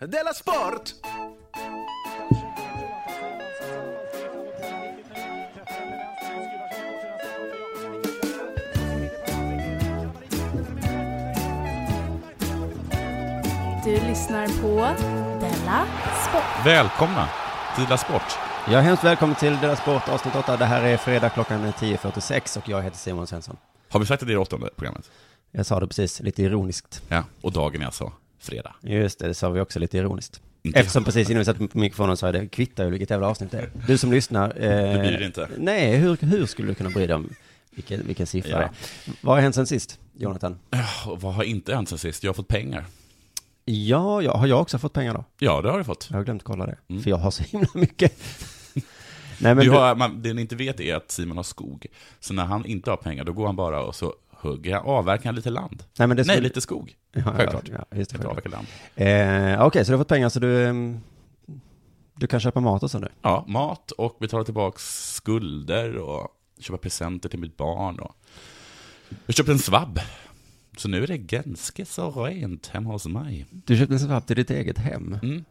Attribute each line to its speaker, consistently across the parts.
Speaker 1: Della Sport!
Speaker 2: Du lyssnar på Della Sport.
Speaker 3: Välkomna till La Sport.
Speaker 4: Jag är hemskt välkommen till Dela Sport avsnitt 8. Det här är fredag klockan är 10.46 och jag heter Simon Svensson.
Speaker 3: Har vi sagt att det är det åttonde programmet?
Speaker 4: Jag sa det precis, lite ironiskt.
Speaker 3: Ja. Och dagen är alltså fredag.
Speaker 4: Just det, det sa vi också lite ironiskt.
Speaker 3: Inte
Speaker 4: Eftersom precis innan vi satte på mikrofonen sa jag det, kvittar ju vilket jävla avsnitt det är. Du som lyssnar. Eh,
Speaker 3: Det bryr dig inte.
Speaker 4: Nej, hur, hur skulle du kunna bry dig om vilken, vilken siffra
Speaker 3: Ja.
Speaker 4: det är? Vad har hänt sen sist, Jonathan?
Speaker 3: Och vad har inte hänt sen sist? Jag har fått pengar.
Speaker 4: Ja, ja, har jag också fått pengar då?
Speaker 3: Ja, det har du fått.
Speaker 4: Jag har glömt kolla det, för jag har så himla mycket. nej, men
Speaker 3: Du
Speaker 4: du
Speaker 3: har, man, det ni inte vet är att Simon har skog. Så när han inte har pengar, då går han bara och så hugger han, avverkar han lite land.
Speaker 4: Nej, men det
Speaker 3: Nej,
Speaker 4: skulle-
Speaker 3: lite skog.
Speaker 4: Ja, ja,
Speaker 3: Självklart.
Speaker 4: ja, just det,
Speaker 3: Ett
Speaker 4: självklart.
Speaker 3: avverkat land.
Speaker 4: Eh, Okej, så du har fått pengar så du, ehm, du kan köpa mat och så nu?
Speaker 3: Ja, mat och betala tillbaka skulder och köpa presenter till mitt barn. Och... Jag köpte en svabb. Så nu är det ganska så rent hemma hos mig.
Speaker 4: Du köpte en svapp till ditt eget hem?
Speaker 3: Mm.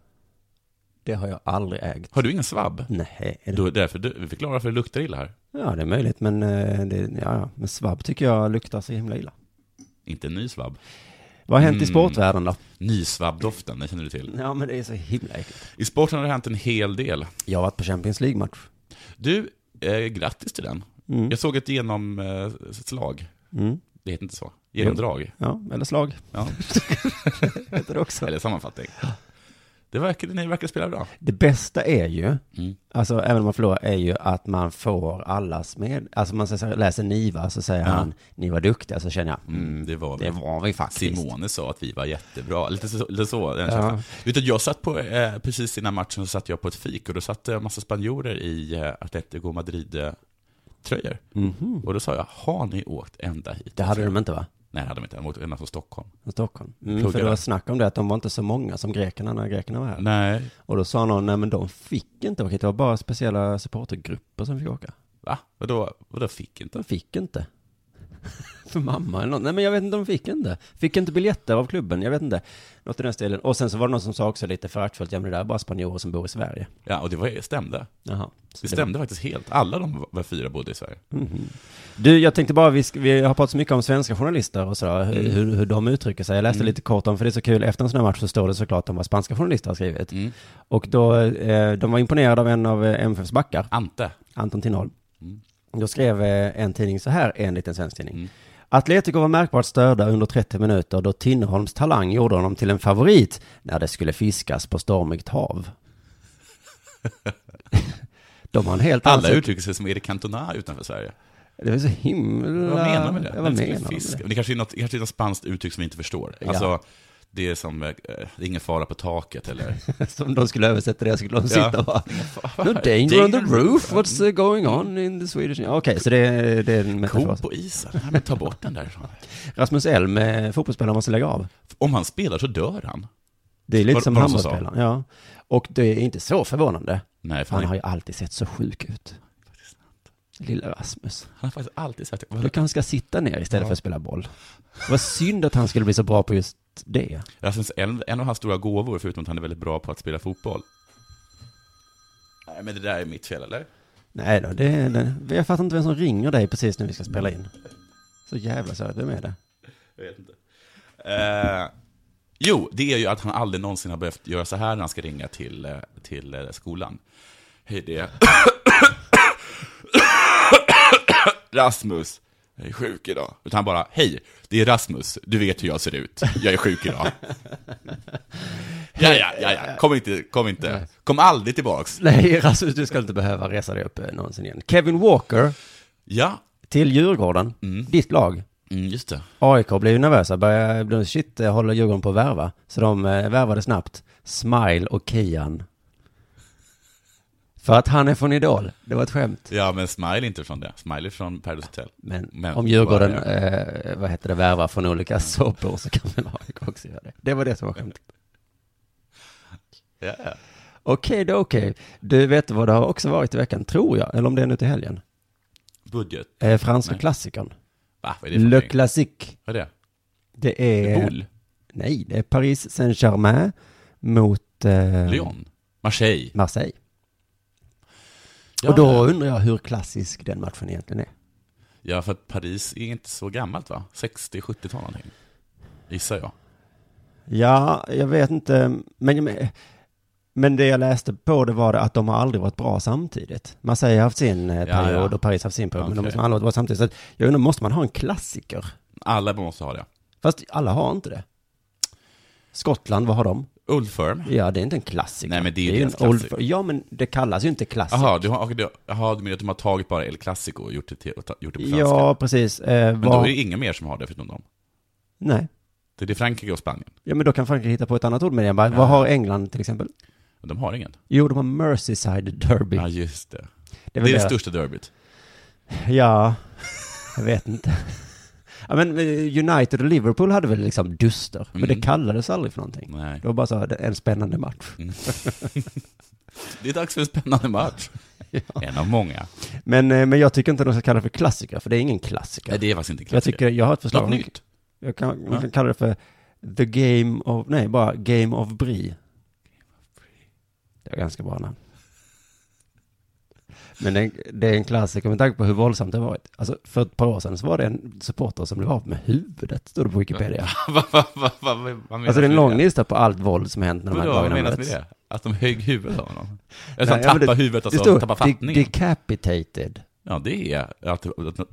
Speaker 4: Det har jag aldrig ägt.
Speaker 3: Har du ingen svabb?
Speaker 4: Nej, är det...
Speaker 3: Då, är det därför du, vi förklarar varför det luktar illa här.
Speaker 4: ja det är möjligt, men, eh, det, ja, ja. men svabb tycker jag luktar så himla illa.
Speaker 3: Inte en ny svabb.
Speaker 4: Vad har hänt i
Speaker 3: Mm.
Speaker 4: sportvärlden då?
Speaker 3: Nysvabbdoften, den känner du till.
Speaker 4: Ja, men det är så himla äckligt.
Speaker 3: I sporten har det hänt en hel del.
Speaker 4: Jag har varit på Champions League-match.
Speaker 3: Du, eh, grattis till den.
Speaker 4: Mm.
Speaker 3: Jag såg ett genomslag.
Speaker 4: Mm.
Speaker 3: Det heter inte så. Genomdrag.
Speaker 4: Ja, eller slag
Speaker 3: Ja.
Speaker 4: heter det också.
Speaker 3: Eller sammanfattning. Det verkar, ni verkar spela bra.
Speaker 4: Det bästa är ju,
Speaker 3: Mm.
Speaker 4: alltså även om man förlorar, är ju att man får allas med. Alltså man säger- läser Niva så säger han, ni var duktiga, så känner jag,
Speaker 3: Mm, det var vi.
Speaker 4: det var vi faktiskt.
Speaker 3: Simone sa att vi var jättebra. Lite så. Lite så den
Speaker 4: Ja.
Speaker 3: känslan. Vet du, jag satt på, eh, precis innan matchen så satt jag på ett fik och då satt det en massa spanjorer i eh, Atletico Madrid-tröjor.
Speaker 4: Mhm.
Speaker 3: Och då sa jag, har ni åkt ända hit?
Speaker 4: Det hade de inte va?
Speaker 3: Nej, det hade de inte. De åkte ända från Stockholm.
Speaker 4: från Stockholm. Mm,
Speaker 3: Pluggade.
Speaker 4: för det var snack om det, att de var inte så många som grekerna när grekerna var här.
Speaker 3: Nej.
Speaker 4: Och då sa någon, nej men de fick inte åka hit, det var bara speciella supportergrupper som fick åka.
Speaker 3: Va? Vadå, vadå fick
Speaker 4: De
Speaker 3: inte?
Speaker 4: fick inte. för mamma eller någon. Nej men jag vet inte, de fick inte. Fick inte biljetter av klubben, jag vet inte. Något i den stilen. Och sen så var det någon som sa också lite föraktfullt, ja men det där är bara spanjorer som bor i Sverige.
Speaker 3: Ja, och det var, stämde.
Speaker 4: Jaha. Så
Speaker 3: Det stämde faktiskt helt. Alla de var- var fyra bodde i Sverige.
Speaker 4: Du, jag tänkte bara, vi, sk- vi har pratat så mycket om svenska journalister och sådär, hur,
Speaker 3: Mm.
Speaker 4: hur, hur de uttrycker sig. Jag läste lite kort om, för det är så kul, efter en sån här match så står det såklart om vad spanska journalister har skrivit.
Speaker 3: Mm.
Speaker 4: Och då, eh, de var imponerade av en av eh, MFFs backar,
Speaker 3: Ante.
Speaker 4: Anton Tinnoll.
Speaker 3: Mm.
Speaker 4: Då skrev eh, en tidning så här, en liten svensk tidning.
Speaker 3: Mm.
Speaker 4: Atletico var märkbart störda under 30 minuter då Tinnerholms talang gjorde honom till en favorit när det skulle fiskas på stormigt hav. de har en helt annan
Speaker 3: Alla
Speaker 4: syn-
Speaker 3: uttrycker sig som Erik Cantona utanför Sverige.
Speaker 4: Det var så himla...
Speaker 3: Vad menar de med det?
Speaker 4: Ja, Vad
Speaker 3: Det är
Speaker 4: menar de med
Speaker 3: fisk.
Speaker 4: det?
Speaker 3: Men det kanske är något, kanske är något spanskt uttryck som vi inte förstår.
Speaker 4: Ja.
Speaker 3: Alltså, det är som, eh, det är ingen fara på taket eller...
Speaker 4: Som de skulle översätta det, skulle de
Speaker 3: Ja.
Speaker 4: sitta och bara, No danger on the roof, what's uh, going on in the Swedish... Okej, så det, är- det är en metafor.
Speaker 3: Ko på isen? Nej, men ta bort den därifrån.
Speaker 4: Rasmus Elm, eh, fotbollsspelaren, måste lägga av.
Speaker 3: Om han spelar så dör han.
Speaker 4: Det är lite
Speaker 3: Var-
Speaker 4: som
Speaker 3: var det någon som
Speaker 4: handbollsspelaren. Ja. Och det är inte så förvånande.
Speaker 3: Nej, för
Speaker 4: Han
Speaker 3: han,
Speaker 4: har
Speaker 3: han,
Speaker 4: ju alltid sett så sjuk ut. Lilla Rasmus.
Speaker 3: har faktiskt alltid sagt...
Speaker 4: Du kanske ska sitta ner istället för att spela boll. Vad synd att han skulle bli så bra på just det.
Speaker 3: Rasmus Elm, en av hans stora gåvor, förutom att han är väldigt bra på att spela fotboll. Nej, men det där är mitt fel, eller?
Speaker 4: Nej då, det, det, jag fattar inte vem som ringer dig precis när vi ska spela in. Så jävla söt, vem är det?
Speaker 3: Jag vet inte. Eh, jo, det är ju att han aldrig någonsin har behövt göra så här när han ska ringa till, eh, till eh, skolan. Hej, det är... Rasmus, jag är sjuk idag. Utan han bara, hej, det är Rasmus, du vet hur jag ser ut, jag är sjuk idag. ja, ja, ja, ja, kom inte, kom inte, kom aldrig tillbaks.
Speaker 4: Nej, Rasmus, du ska inte behöva resa dig upp eh, någonsin igen. Kevin Walker
Speaker 3: Ja,
Speaker 4: till Djurgården, ditt lag.
Speaker 3: mm, just det.
Speaker 4: AIK blev ju nervösa, började bli shit, eh, håller Djurgården på att värva? Så de eh, värvade snabbt Smile och Kian. För att han är från Idol, det var ett skämt.
Speaker 3: Ja, men Smile är inte från det, Smile är från Paradise Hotel.
Speaker 4: Men,
Speaker 3: Men-
Speaker 4: om Djurgården, eh, vad heter det, värvar från olika såpor så kan väl AIK också göra det. Det var det som var skämtet.
Speaker 3: Ja, ja.
Speaker 4: Okej då, okej. Du vet vad det har också varit i veckan, tror jag, eller om det är nu till helgen.
Speaker 3: Budget,
Speaker 4: Eh, franska
Speaker 3: Nej.
Speaker 4: klassikern.
Speaker 3: va, vad är det för
Speaker 4: Le
Speaker 3: någonting?
Speaker 4: Classique.
Speaker 3: Vad är det?
Speaker 4: Det är...
Speaker 3: Bull?
Speaker 4: Nej, det är Paris Saint-Germain mot eh,
Speaker 3: Lyon? Marseille?
Speaker 4: Marseille.
Speaker 3: Ja,
Speaker 4: och då undrar jag hur klassisk den matchen egentligen är.
Speaker 3: Ja, för att Paris är inte så gammalt va? 60-70-tal någonting. Gissar jag.
Speaker 4: Ja, jag vet inte, men, men- men det jag läste på det var det att de har aldrig varit bra samtidigt. Marseille har haft sin eh,
Speaker 3: Ja,
Speaker 4: period
Speaker 3: ja.
Speaker 4: och Paris har haft sin period, men de
Speaker 3: Okej.
Speaker 4: har liksom aldrig varit bra samtidigt. Så att, jag undrar, måste man ha en klassiker?
Speaker 3: Alla måste ha det.
Speaker 4: Fast alla har inte det. Skottland, vad har de?
Speaker 3: Old Firm?
Speaker 4: Ja, det är inte en klassiker.
Speaker 3: Nej, men det är ju deras
Speaker 4: en old-
Speaker 3: klassiker.
Speaker 4: Ja, men det kallas ju inte klassiker.
Speaker 3: Jaha, du, har, okej, du, jaha, du menar att de har tagit bara El Clasico och gjort det, till, och ta- gjort det på svenska?
Speaker 4: Ja, precis. Eh,
Speaker 3: Men
Speaker 4: vad-
Speaker 3: då är det inga mer som har det förutom dem.
Speaker 4: Nej.
Speaker 3: Det är det Frankrike och Spanien.
Speaker 4: Ja, men då kan Frankrike hitta på ett annat ord med det. Bara, Vad har England till exempel?
Speaker 3: Men de har ingen.
Speaker 4: Jo, de har Merseyside Derby.
Speaker 3: Ja, just det. Det är,
Speaker 4: väl
Speaker 3: det
Speaker 4: deras-
Speaker 3: största derbyt.
Speaker 4: Ja, jag vet inte. Ja, men eh, United och Liverpool hade väl liksom duster, men
Speaker 3: Mm.
Speaker 4: det kallades aldrig för någonting.
Speaker 3: Nej.
Speaker 4: Det var bara så, här, det är en spännande match.
Speaker 3: Det är dags för en spännande match. En av många.
Speaker 4: Men, eh, men jag tycker inte de ska kalla det för klassiker, för det är ingen klassiker.
Speaker 3: Nej, det är faktiskt inte
Speaker 4: jag
Speaker 3: klassiker.
Speaker 4: tycker, jag har ett förslag.
Speaker 3: Något nytt.
Speaker 4: Jag kan,
Speaker 3: Ja.
Speaker 4: man kan kalla det för The Game of, nej, bara Game of Brie. Det är ganska bra namn. Men det är, en- det är en klassiker med tanke på hur våldsamt det har varit. Alltså, för ett par år sedan så var det en supporter som blev av med huvudet, stod det på Wikipedia.
Speaker 3: Va, va, va, va, va, vad menas
Speaker 4: Alltså det är
Speaker 3: med
Speaker 4: en lång lista på allt våld som hänt när de här
Speaker 3: Vadå, vad
Speaker 4: lagarna
Speaker 3: menas med
Speaker 4: möts.
Speaker 3: det? Att de högg huvudet av honom? Eller att
Speaker 4: Nej,
Speaker 3: de
Speaker 4: ja, men
Speaker 3: tappade huvudet,
Speaker 4: Det
Speaker 3: alltså
Speaker 4: står
Speaker 3: tappade
Speaker 4: de-
Speaker 3: fattningen?
Speaker 4: decapitated.
Speaker 3: Ja, det är att... att, att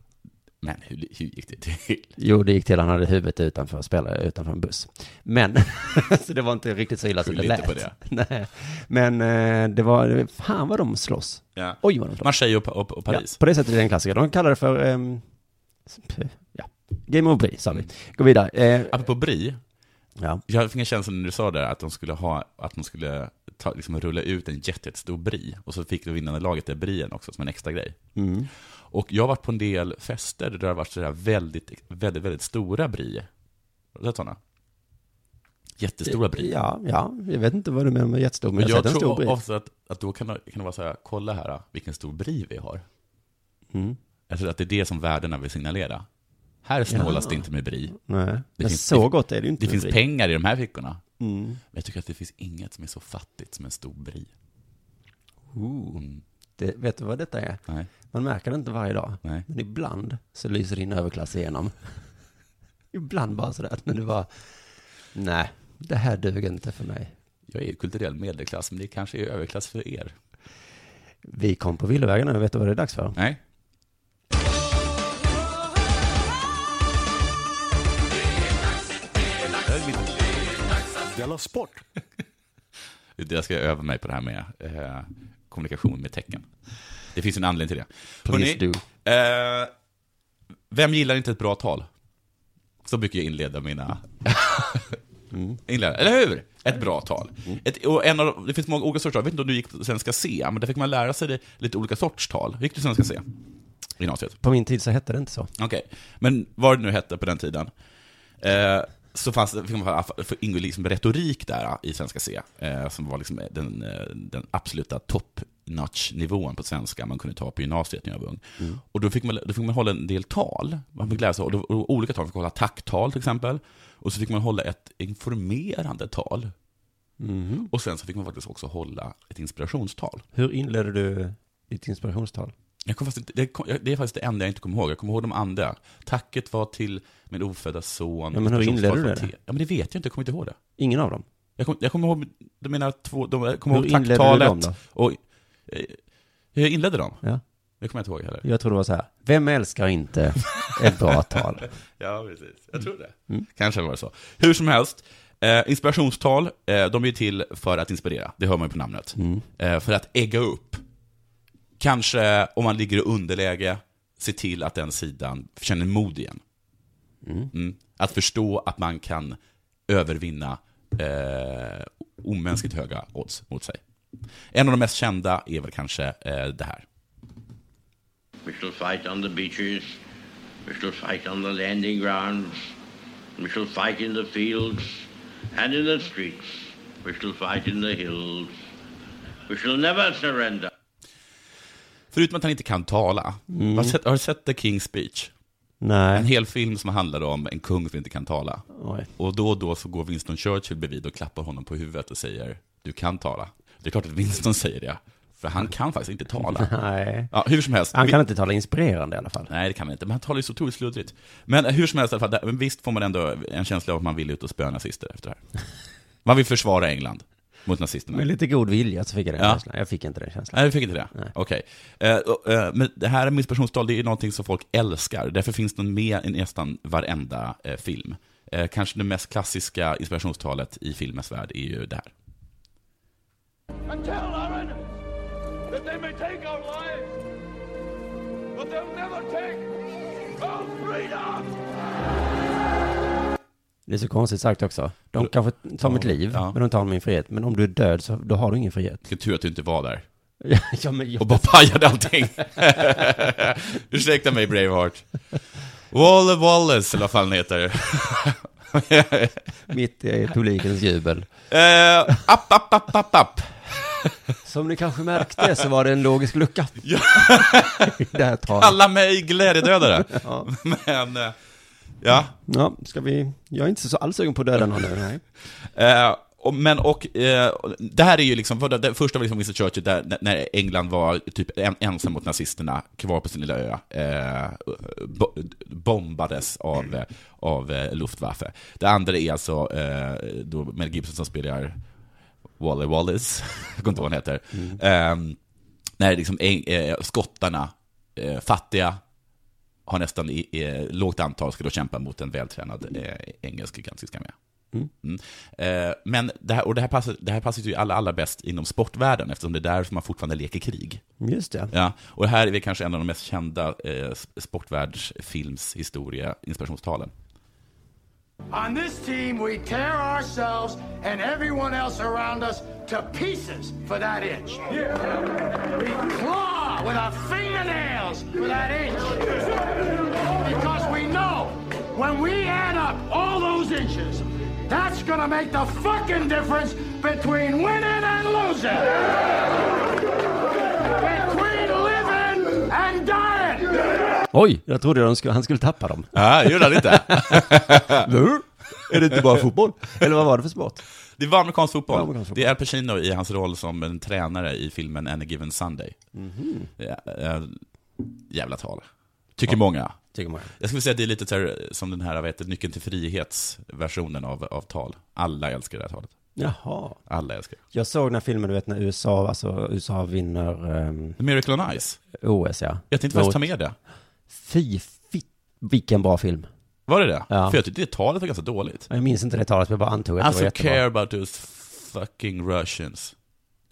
Speaker 3: men hur, hur gick det till?
Speaker 4: Jo, det gick till han hade huvudet utanför, spelare utanför en buss. Men, så det var inte riktigt så illa som
Speaker 3: Skyll
Speaker 4: det
Speaker 3: inte
Speaker 4: lät.
Speaker 3: på det.
Speaker 4: Nej. Men eh, det var, fan vad de slåss.
Speaker 3: Ja.
Speaker 4: Oj vad de slåss.
Speaker 3: Marseille och, och, och Paris.
Speaker 4: Ja, på det sättet är det en klassiker. De kallar det för, ehm, ja, Game of Brie, sa
Speaker 3: Mm.
Speaker 4: vi. Gå vidare. Eh,
Speaker 3: Apropå Brie,
Speaker 4: ja.
Speaker 3: jag fick en känsla när du sa det att de skulle ha, att de skulle ta, liksom, rulla ut en jätte- jättestor Brie, och så fick det vinnande laget det Brien också som en extra grej.
Speaker 4: Mm.
Speaker 3: Och jag har varit på en del fester där det har varit sådär väldigt, väldigt, väldigt stora Brie. Har du sett sådana? Jättestora Brie.
Speaker 4: Ja, ja, jag vet inte vad du menar med jättestor, men
Speaker 3: Men
Speaker 4: jag, har
Speaker 3: jag
Speaker 4: sett Alltså, en stor
Speaker 3: tror
Speaker 4: brie.
Speaker 3: ofta att, att då kan det, kan det vara så här, kolla här vilken stor brie vi har.
Speaker 4: Mm.
Speaker 3: Jag tror att det är det som värdena vill signalera. Här snålas det inte med brie.
Speaker 4: Nej, men
Speaker 3: finns-
Speaker 4: så
Speaker 3: det-
Speaker 4: gott är det ju inte.
Speaker 3: Det
Speaker 4: med
Speaker 3: finns
Speaker 4: brie.
Speaker 3: pengar i de här fickorna.
Speaker 4: Mm.
Speaker 3: Men jag tycker att det finns inget som är så fattigt som en stor brie. Mm.
Speaker 4: Det, vet du vad detta är?
Speaker 3: Nej,
Speaker 4: Man märker det inte varje dag.
Speaker 3: nej.
Speaker 4: Men ibland så lyser din överklass igenom. ibland bara sådär att när du bara, nej, det här duger inte för mig.
Speaker 3: Jag är kulturell medelklass, men det kanske är överklass för er.
Speaker 4: Vi kom på villovägar nu, vet du vad det är dags för?
Speaker 3: Nej.
Speaker 1: Della Sport!
Speaker 3: Det- Jag ska öva mig på det här med eh, kommunikation med tecken. Det finns en anledning till det.
Speaker 4: Please
Speaker 3: Hörrni,
Speaker 4: do.
Speaker 3: Eh, vem gillar inte ett bra tal? Så brukar jag inleda mina...
Speaker 4: Mm.
Speaker 3: inleda, eller hur? Ett bra tal. Ett, och en av, de- det finns många olika sorters tal. Jag vet inte om du gick Svenska C, men där fick man lära sig det, lite olika sorts tal. Gick du Svenska C? I gymnasiet?
Speaker 4: På min tid så hette det inte så.
Speaker 3: Okej. Men vad det nu hette på den tiden, eh, så fanns det, fick man i alla fall- för- ingår liksom retorik där eh, i Svenska C, eh, som var liksom den, eh, den absoluta topp notch-nivån på svenska man kunde ta på gymnasiet när jag var ung. Och då fick, man, då fick man hålla en del tal. Man fick lära sig och då, och olika tal, man fick hålla tacktal till exempel. Och så fick man hålla ett informerande tal. Och sen så fick man faktiskt också hålla ett inspirationstal.
Speaker 4: Hur inleder du ditt inspirationstal?
Speaker 3: Jag kommer faktiskt inte, det, kom, jag- det är faktiskt det enda jag inte kommer ihåg. Jag kommer ihåg de andra. Tacket var till min ofödda son.
Speaker 4: Ja, men hur inledde du det?
Speaker 3: Personskalet var till- Ja, men det vet jag inte. Jag kommer inte ihåg det.
Speaker 4: Ingen av dem.
Speaker 3: Jag, kom, jag kommer ihåg de mina två... De, jag kommer
Speaker 4: Hur
Speaker 3: ihåg
Speaker 4: inledde du
Speaker 3: tacktalet.
Speaker 4: dem då?
Speaker 3: Och, eh, hur jag inledde dem?
Speaker 4: Ja.
Speaker 3: Det kommer jag inte ihåg heller.
Speaker 4: Jag tror det var så här, vem älskar inte ett bra tal?
Speaker 3: Ja, precis. Jag tror det. Kanske var det så. Hur som helst, eh, inspirationstal, eh, de är ju till för att inspirera. Det hör man ju på namnet. Eh, för att ägga upp. Kanske, om man ligger i underläge, se till att den sidan känner mod igen. Mm. Att förstå att man kan övervinna eh, omänskligt höga odds mot sig. En av de mest kända är väl kanske eh, det här.
Speaker 5: We shall fight on the beaches. We shall fight on the landing grounds. We shall fight in the fields and in the streets. We shall fight in the hills. We shall never surrender.
Speaker 3: Förutom att han inte kan tala. Har, du sett, har du sett The King's Speech? En
Speaker 4: Nej.
Speaker 3: hel film som handlar om en kung som inte kan tala.
Speaker 4: Oj.
Speaker 3: Och då och då så går Winston Churchill bredvid och klappar honom på huvudet och säger du kan tala. Det är klart att Winston säger det, för han kan faktiskt inte tala.
Speaker 4: Nej.
Speaker 3: Ja, hur som helst.
Speaker 4: Han
Speaker 3: Vi-
Speaker 4: kan inte tala inspirerande i alla fall.
Speaker 3: Nej, det kan man inte. Men han talar ju så otroligt sluddrigt. Men eh, hur som helst, i alla fall, där- men visst får man ändå en känsla av att man vill ut och spöa nazister efter det här. Man vill försvara England mot nazisterna.
Speaker 4: Med lite god vilja så fick jag den
Speaker 3: Ja.
Speaker 4: känslan. Jag fick inte den känslan.
Speaker 3: Nej, du fick inte det? Okej. Eh, och, eh, men det här med inspirationstal, det är ju någonting som folk älskar. Därför finns den med i nästan varenda eh, film. Eh, kanske det mest klassiska inspirationstalet i filmens värld är ju det här.
Speaker 6: and tell our enemies that they may take our lives, but they'll never take our freedom!
Speaker 4: Det är så konstigt sagt också. De kanske tar mitt liv,
Speaker 3: Ja.
Speaker 4: men de tar min frihet. Men om du är död så då har du ingen frihet.
Speaker 3: Vilken tur att du inte var där
Speaker 4: ja, men jag...
Speaker 3: och bara pajade allting. Ursäkta mig, Braveheart. Waller Wallace, eller vad fan han heter.
Speaker 4: Mitt i publikens jubel.
Speaker 3: Eh, app, app, app, app, app.
Speaker 4: Som ni kanske märkte så var det en logisk lucka.
Speaker 3: Ja.
Speaker 4: det här talet.
Speaker 3: Alla mig glädjedödare. Men, eh, ja.
Speaker 4: Ja, ska vi... Jag är inte så alls sugen på att döda någon nu. Nej.
Speaker 3: Eh, och, men och, eh, det här är ju liksom, för det, det första var liksom Winston Churchill där, när- när England var typ en, ensam mot nazisterna, kvar på sin lilla ö, eh, bo, bombades av, eh, av eh, Luftwaffe. Det andra är alltså eh, då Mel Gibson som spelar Wally Wallace, jag kommer inte ihåg vad han heter. Eh, när liksom eng, eh, skottarna, eh, fattiga, har nästan i, i, lågt antal ska då kämpa mot en vältränad eh, engelsk gigantisk armé. Mm. Eh, men det här, och det här passar, det här passar ju alla, alla bäst inom sportvärlden, eftersom det är där som man fortfarande leker krig.
Speaker 4: Just det.
Speaker 3: Ja, och det här är väl kanske en av de mest kända eh, sportvärldsfilmshistoria, inspirationstalen.
Speaker 7: On this team, we tear ourselves and everyone else around us to pieces for that inch. We claw with our fingernails for that inch. Because we know when we add up all those inches, that's gonna make the fucking difference between winning and losing. between living and dying.
Speaker 4: Oj, jag trodde de skulle, han skulle tappa dem.
Speaker 3: Ja, det gjorde han inte.
Speaker 4: är det inte bara fotboll? Eller vad var det för sport?
Speaker 3: Det var amerikansk
Speaker 4: Det var
Speaker 3: fotboll.
Speaker 4: amerikansk fotboll.
Speaker 3: Det är Al Pacino i hans roll som en tränare i filmen Any Given Sunday.
Speaker 4: Mhm.
Speaker 3: Ja, eh, jävla tal. Tycker många.
Speaker 4: Tycker man.
Speaker 3: Jag skulle säga att det är lite så här, som den här, vad heter det, Nyckeln till frihetsversionen av, av tal. Alla älskar det här talet.
Speaker 4: Jaha.
Speaker 3: Alla älskar det.
Speaker 4: Jag såg den här filmen, du vet, när USA, alltså USA vinner ehm,
Speaker 3: The Miracle on Ice.
Speaker 4: OS, ja.
Speaker 3: Jag tänkte faktiskt ta
Speaker 4: Mot-
Speaker 3: med det.
Speaker 4: Fy, fy, vilken bra film.
Speaker 3: Var det det?
Speaker 4: Ja.
Speaker 3: För jag tyckte det talet var ganska dåligt.
Speaker 4: Jag minns inte det talet, men jag bara antog att det var
Speaker 3: Alltså,
Speaker 4: jättebra.
Speaker 3: care about those fucking Russians.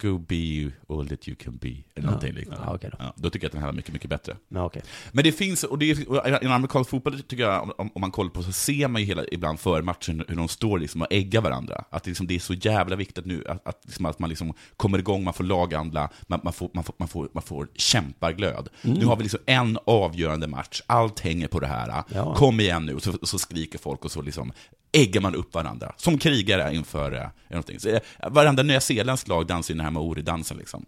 Speaker 3: Go be you all that you can be. Eller någonting liknande.
Speaker 4: Ja, okej då.
Speaker 3: Ja, då tycker jag att den här var mycket, mycket bättre.
Speaker 4: Ja, okej.
Speaker 3: Men det finns, och det är, och inom amerikansk fotboll tycker jag, om- om, om man kollar på, så ser man ju hela, ibland för matchen hur de står liksom och äggar varandra. Att det, liksom, det är så jävla viktigt nu att, att, liksom, att man liksom kommer igång, man får lagandla, man, man, får, man, får, man, får, man får kämparglöd. Nu har vi liksom en avgörande match, allt hänger på det här.
Speaker 4: Ja.
Speaker 3: Kom igen nu, och så, så skriker folk och så liksom äggar man upp varandra. Som krigare inför eh, någonting. Så, eh, varenda nyzeeländskt lag dansar ju den här Maori-dansen liksom.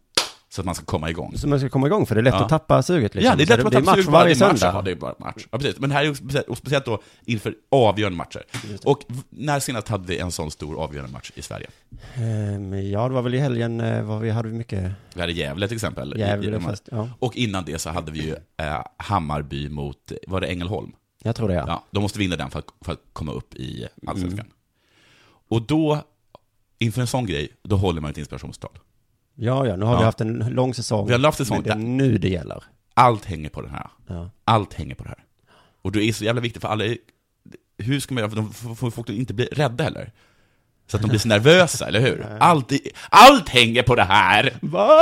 Speaker 3: Så att man ska komma igång.
Speaker 4: Så man ska komma igång, för det är lätt
Speaker 3: Ja.
Speaker 4: att tappa suget liksom.
Speaker 3: Ja, det är
Speaker 4: Så
Speaker 3: därför man tappar
Speaker 4: match
Speaker 3: sugen på
Speaker 4: varje
Speaker 3: att det är match.
Speaker 4: söndag.
Speaker 3: Ja, det är bara match. Ja, precis. Men det här är ju speciellt, och speciellt då inför avgörande matcher. Och v- när senast hade vi en sån stor avgörande match i Sverige?
Speaker 4: Ehm, ja, det var väl i helgen, eh, vad vi hade vi mycket...
Speaker 3: Vi hade Gävle till exempel. i-
Speaker 4: Gävle,
Speaker 3: i de här-
Speaker 4: fast, ja.
Speaker 3: Och innan det så hade vi ju eh, Hammarby mot, var det Ängelholm?
Speaker 4: Jag tror det, ja.
Speaker 3: Ja, de måste vinna den för att, för att komma upp i Allsvenskan. Och då, inför en sån grej, då håller man ett inspirationstal.
Speaker 4: Ja, ja, nu har
Speaker 3: Ja.
Speaker 4: vi haft en lång säsong.
Speaker 3: Vi har haft en säsong
Speaker 4: Men Det är
Speaker 3: där-
Speaker 4: nu det gäller.
Speaker 3: Allt hänger på den här.
Speaker 4: Ja.
Speaker 3: Allt hänger på det här. Och det är så jävla viktigt för alla, är- hur ska man göra för de får får folk att inte bli rädda heller? Så att de blir så nervösa, eller hur? Allt, i- allt hänger på det här!
Speaker 4: Va?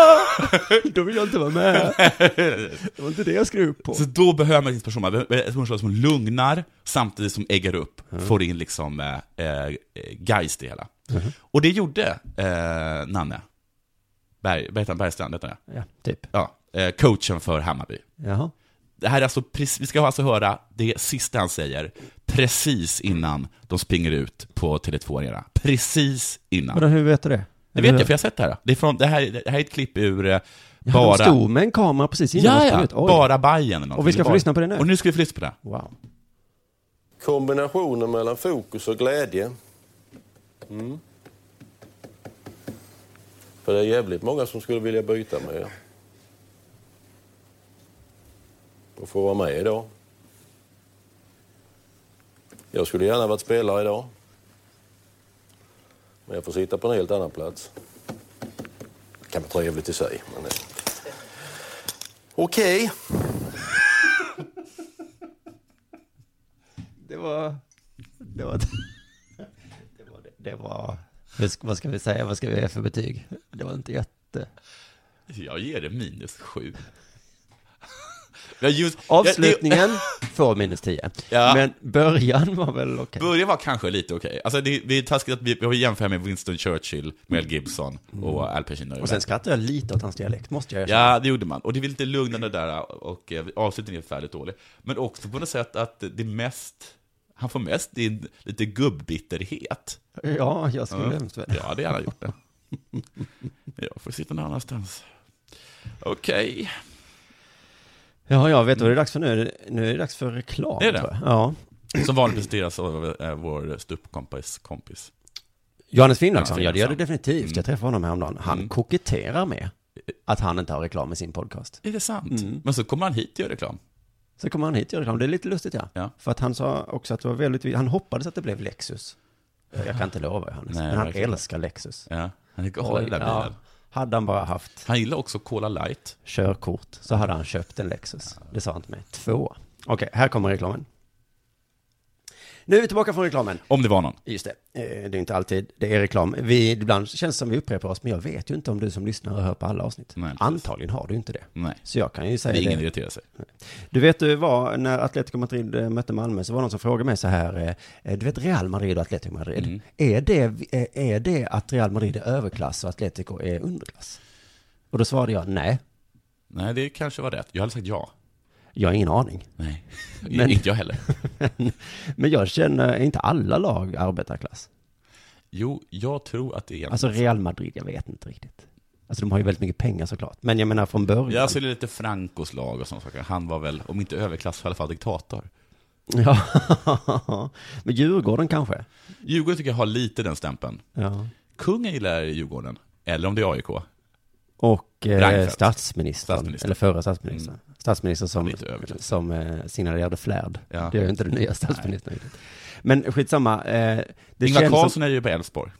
Speaker 4: Då vill jag inte vara med. Det var inte det jag skrev upp på.
Speaker 3: Så då behöver man inspiration, man behöver inspiration som lugnar, samtidigt som äggar upp, får in liksom eh, eh, geist i det hela. Och det gjorde eh, Nanne Berg, vad heter han? Bergstrand, heter han,
Speaker 4: Ja, typ.
Speaker 3: ja. ja, eh, coachen för Hammarby.
Speaker 4: Jaha.
Speaker 3: Det här är alltså, precis- vi ska alltså höra det sista han säger, precis innan de springer ut på Tele2 Arena. Precis innan.
Speaker 4: Vadå, hur vet du det?
Speaker 3: Det vet jag, för jag har sett det här. Det, är från, det, här det här är ett klipp ur eh, Bara-
Speaker 4: Han stod med en kamera precis innan
Speaker 3: Ja,
Speaker 4: han sprang
Speaker 3: ja.
Speaker 4: ut. Oj.
Speaker 3: Bara Bajen eller
Speaker 4: Och vi ska få
Speaker 3: någonting.
Speaker 4: lyssna på det nu.
Speaker 3: Och nu ska vi få lyssna på det.
Speaker 4: Wow.
Speaker 8: Kombinationen mellan fokus och glädje. Mm. För det är jävligt många som skulle vilja byta med er. Och få vara med idag. Jag skulle gärna varit spelare idag. Men jag får sitta på en helt annan plats. Det kan vara trevligt i sig. Men... eh. Okej.
Speaker 4: Det var... Det var... Det var... Det var hur ska- vad ska vi säga? Vad ska vi ge för betyg? Det var inte jätte...
Speaker 3: Jag ger det minus sju. Jag just,
Speaker 4: Avslutningen får minus 10.
Speaker 3: Ja.
Speaker 4: Men början var väl okej.
Speaker 3: Början var kanske lite okej. Alltså det, det är taskigt att vi, vi jämför med Winston Churchill, Mel Gibson och Al Pacino.
Speaker 4: Och sen skrattade jag lite åt hans dialekt, måste jag erkänna.
Speaker 3: Ja, det gjorde man. Och det är lite lugnande där och eh, avslutningen är förfärligt dålig. Men också på något sätt att det mest, han får mest in lite gubbbitterhet.
Speaker 4: Ja, jag skulle hemskt väl.
Speaker 3: Jag hade gärna gjort det. Jag får sitta någon annanstans. Okej.
Speaker 4: Ja, ja, vet du vad det är dags för nu? Nu är det dags för reklam,
Speaker 3: Är det?
Speaker 4: tror jag. Ja.
Speaker 3: Som vanligt presenteras av eh, vår ståuppkompis kompis.
Speaker 4: Johannes Finnlagsson,
Speaker 3: Johannes
Speaker 4: ja det gör det
Speaker 3: Finnlagsson.
Speaker 4: definitivt.
Speaker 3: Mm.
Speaker 4: Jag träffade honom häromdagen. Han
Speaker 3: Mm.
Speaker 4: koketterar med att han inte har reklam i sin podcast.
Speaker 3: Är det sant?
Speaker 4: Mm.
Speaker 3: Men så kommer han hit och gör reklam.
Speaker 4: Så kommer han hit och gör reklam. Det är lite lustigt ja.
Speaker 3: Ja.
Speaker 4: För att han sa också att det var väldigt, han hoppades att det blev Lexus. Jag kan inte lova Johannes,
Speaker 3: Nej,
Speaker 4: men han
Speaker 3: verkligen.
Speaker 4: älskar Lexus.
Speaker 3: Ja. Han är galen i den där
Speaker 4: Ja.
Speaker 3: bilen.
Speaker 4: Hade han bara haft
Speaker 3: Han gillar också Cola Light.
Speaker 4: körkort så hade han köpt en Lexus. Det sa han till mig. Två. Okej, här kommer reklamen. Nu är vi tillbaka från reklamen.
Speaker 3: Om det var någon.
Speaker 4: Just det, Eh, det är inte alltid det är reklam. Vi, ibland känns det som vi upprepar oss, men jag vet ju inte om du som lyssnar hör på alla avsnitt.
Speaker 3: Nej, precis.
Speaker 4: Antagligen har du inte det.
Speaker 3: Nej.
Speaker 4: Så jag kan ju
Speaker 3: Det
Speaker 4: säga
Speaker 3: är ingen
Speaker 4: det.
Speaker 3: irriterar sig.
Speaker 4: Du vet du var, när Atletico Madrid eh, mötte Malmö så var det någon som frågade mig så här, eh, du vet Real Madrid och Atletico Madrid, är, det, eh, är det att Real Madrid är överklass och Atletico är underklass? Och då svarade jag nej,
Speaker 3: Nej, det kanske var rätt. Jag hade sagt ja.
Speaker 4: jag har ingen aning.
Speaker 3: Nej,
Speaker 4: Men-
Speaker 3: inte jag heller.
Speaker 4: Men jag känner, är inte alla lag arbetarklass?
Speaker 3: Jo, jag tror att det är en...
Speaker 4: Alltså Real Madrid, jag vet inte riktigt. Alltså de har ju väldigt mycket pengar såklart, men jag menar från början.
Speaker 3: Ja, alltså det är lite Francos lag och sånt saker. Han var väl, om inte överklass, i alla fall diktator.
Speaker 4: Ja, men Djurgården kanske?
Speaker 3: Djurgården tycker jag har lite den stämpeln.
Speaker 4: Ja.
Speaker 3: Kungen gillar Djurgården, eller om det är AIK.
Speaker 4: Och eh,
Speaker 3: Reinfeldt.
Speaker 4: statsministern,
Speaker 3: Statsministern. Mm.
Speaker 4: eller förra statsministern. Statsministern som,
Speaker 3: lite överklass.
Speaker 4: som eh, signalerade flärd.
Speaker 3: Ja.
Speaker 4: Det är ju inte den nya statsministern. riktigt. Men skitsamma. Eh, det
Speaker 3: Ingvar
Speaker 4: känns
Speaker 3: Carlsson
Speaker 4: som,
Speaker 3: är ju på Elfsborg.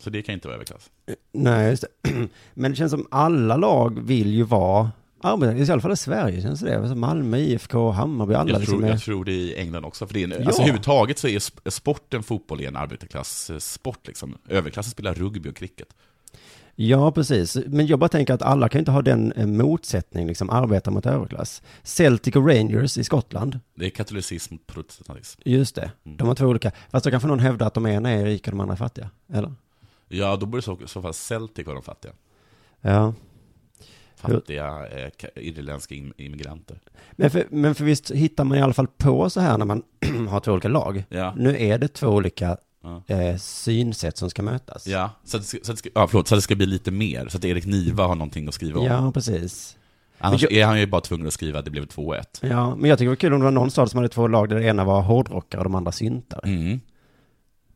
Speaker 3: Så det kan inte vara överklass.
Speaker 4: Nej, just det. Men det känns som alla lag vill ju vara arbetare. I alla fall i Sverige känns det. Alltså Malmö, IFK, Hammarby, alla
Speaker 3: Jag
Speaker 4: liksom
Speaker 3: tror,
Speaker 4: är...
Speaker 3: jag tror det är i England också. För det är en,
Speaker 4: Ja.
Speaker 3: alltså, överhuvudtaget så är sp- sporten fotboll är en arbetarklasssport. Liksom. Överklassen spelar rugby och cricket.
Speaker 4: Ja, precis. Men jag bara tänker att alla kan ju inte ha den eh, motsättning, liksom arbetare mot överklass. Celtic och Rangers i Skottland,
Speaker 3: Det är katolicism mot protestantism.
Speaker 4: Just det,
Speaker 3: Mm.
Speaker 4: de har två olika. Fast då kanske någon hävdar att de ena är rika och de andra är fattiga, eller?
Speaker 3: Ja, då borde i så, i så fall Celtic vara de fattiga.
Speaker 4: Ja.
Speaker 3: Fattiga eh, ka- irländska im- immigranter.
Speaker 4: Men för, men för visst hittar man i alla fall på så här när man har två olika lag.
Speaker 3: Ja.
Speaker 4: Nu är det två olika
Speaker 3: Ja.
Speaker 4: eh, synsätt som ska mötas.
Speaker 3: Ja, så att, det ska- så, att, det ska- ja, förlåt, så att det ska bli lite mer, så att Erik Niva har någonting att skriva om.
Speaker 4: Ja, precis.
Speaker 3: Annars
Speaker 4: Men
Speaker 3: är han ju bara tvungen att skriva att det blev 2-1.
Speaker 4: Ja, men jag tycker det var kul om det var någon stad som hade två lag där det ena var hårdrockare och de andra syntare.
Speaker 3: Mm.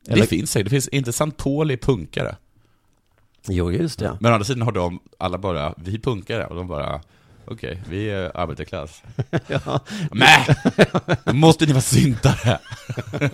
Speaker 4: Eller-
Speaker 3: Det finns säkert, det finns inte Sant Paul är punkare.
Speaker 4: Jo, just det.
Speaker 3: Men å andra sidan har de alla bara, vi är punkare, och de bara, okej, vi är arbetarklass.
Speaker 4: Ja.
Speaker 3: Nej! Då måste ni vara syntare!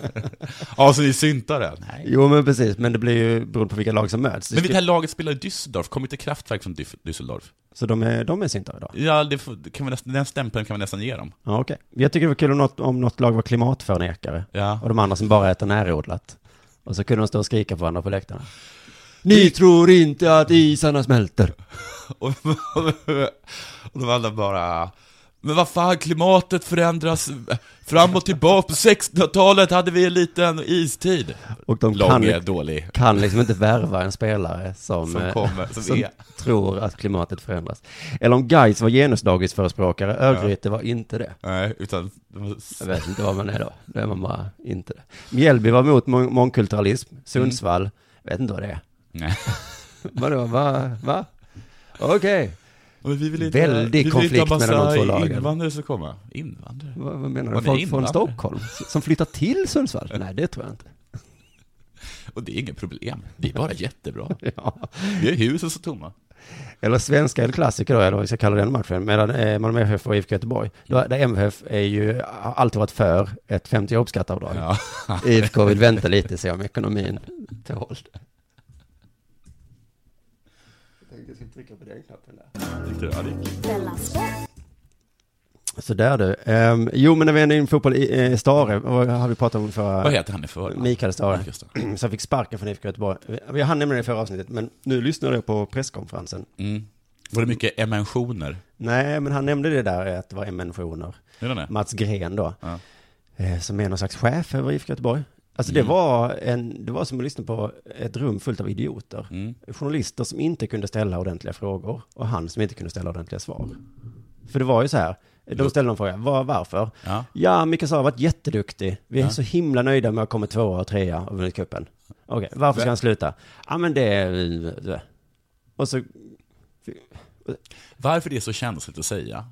Speaker 3: ja, så ni är syntare? Nej.
Speaker 4: Jo, men precis. Men det blir ju beroende på vilka lag som möts. Det
Speaker 3: Men det
Speaker 4: skulle-
Speaker 3: här laget spelar i Düsseldorf, kommer inte Kraftwerk från Düs- Düsseldorf?
Speaker 4: Så de är, de är syntare då?
Speaker 3: Ja, det får, det kan vi nästan, den stämpeln kan vi nästan ge dem.
Speaker 4: Ja, okej. Jag tycker det var kul om något, om något lag var klimatförnekare.
Speaker 3: Ja.
Speaker 4: Och de andra som bara äter närodlat. Och så kunde de stå och skrika på varandra på läktarna. Ni tror inte att isarna smälter.
Speaker 3: Och, och de andra bara Men vad fan, klimatet förändras fram och tillbaka, på 1600-talet hade vi en liten istid
Speaker 4: Och de
Speaker 3: Lång är
Speaker 4: kan,
Speaker 3: dålig
Speaker 4: kan liksom inte värva en spelare som,
Speaker 3: Som
Speaker 4: eh,
Speaker 3: kommer, som är.
Speaker 4: tror att klimatet förändras. Eller om Gais var genusdagisförespråkare, Örgryte var inte det.
Speaker 3: Nej, utan
Speaker 4: Jag vet inte vad man är då. Då är man bara inte det. Mjällby var emot mång- mångkulturalism.
Speaker 3: Mm.
Speaker 4: Sundsvall, jag vet inte vad det är.
Speaker 3: Nej,
Speaker 4: Vadå, va? va? Okej.
Speaker 3: Men vi vill
Speaker 4: Väldig konflikt mellan de två lagen.
Speaker 3: invandrare ska komma. Invandrare?
Speaker 4: Vad, vad menar du?
Speaker 3: Vad är
Speaker 4: Folk från
Speaker 3: invandrare?
Speaker 4: Stockholm? Som flyttar till Sundsvall? Nej, det tror jag inte.
Speaker 3: Och det är inget problem. Det är bara jättebra.
Speaker 4: Ja.
Speaker 3: Vi har husen så tomma.
Speaker 4: Eller svenska El Clasico då, eller vad vi ska kalla den matchen, mellan eh, Malmö FF och IFK Göteborg. Då, där MFF är ju, har alltid varit för ett femte jobbskatteavdrag.
Speaker 3: Ja.
Speaker 4: IFK vill vänta lite, se om ekonomin tål det.
Speaker 2: Della Sport.
Speaker 4: Så där du. Ehm, jo, men när vi ändå är inne i fotboll, i, eh, Stare, vad har vi pratat om förra?
Speaker 3: Vad heter han i förnamn?
Speaker 4: Mikael Stare.
Speaker 3: Mikael Stare.
Speaker 4: Så han fick sparken från IFK Göteborg. Vi- Vi hann nämna det i förra avsnittet, men nu lyssnade jag på presskonferensen.
Speaker 3: Mm. Var det mycket emensioner?
Speaker 4: Nej, men han nämnde det där att det var emensioner.
Speaker 3: Är det det?
Speaker 4: Mats Gren då,
Speaker 3: Ja.
Speaker 4: eh, som är någon slags chef över IFK Göteborg. Alltså
Speaker 3: Mm.
Speaker 4: det, var en, det var som att lyssna på ett rum fullt av idioter.
Speaker 3: Mm.
Speaker 4: Journalister som inte kunde ställa ordentliga frågor och han som inte kunde ställa ordentliga svar. För det var ju så här, de ställde någon fråga, var, varför?
Speaker 3: Ja.
Speaker 4: Ja, Mikael Sara har varit jätteduktig. Vi är så himla nöjda med att ha kommit tvåa och trea och vunnit cupen. Okej, varför ska han sluta? Ja, men det... är- Och så...
Speaker 3: Varför det är så känsligt att säga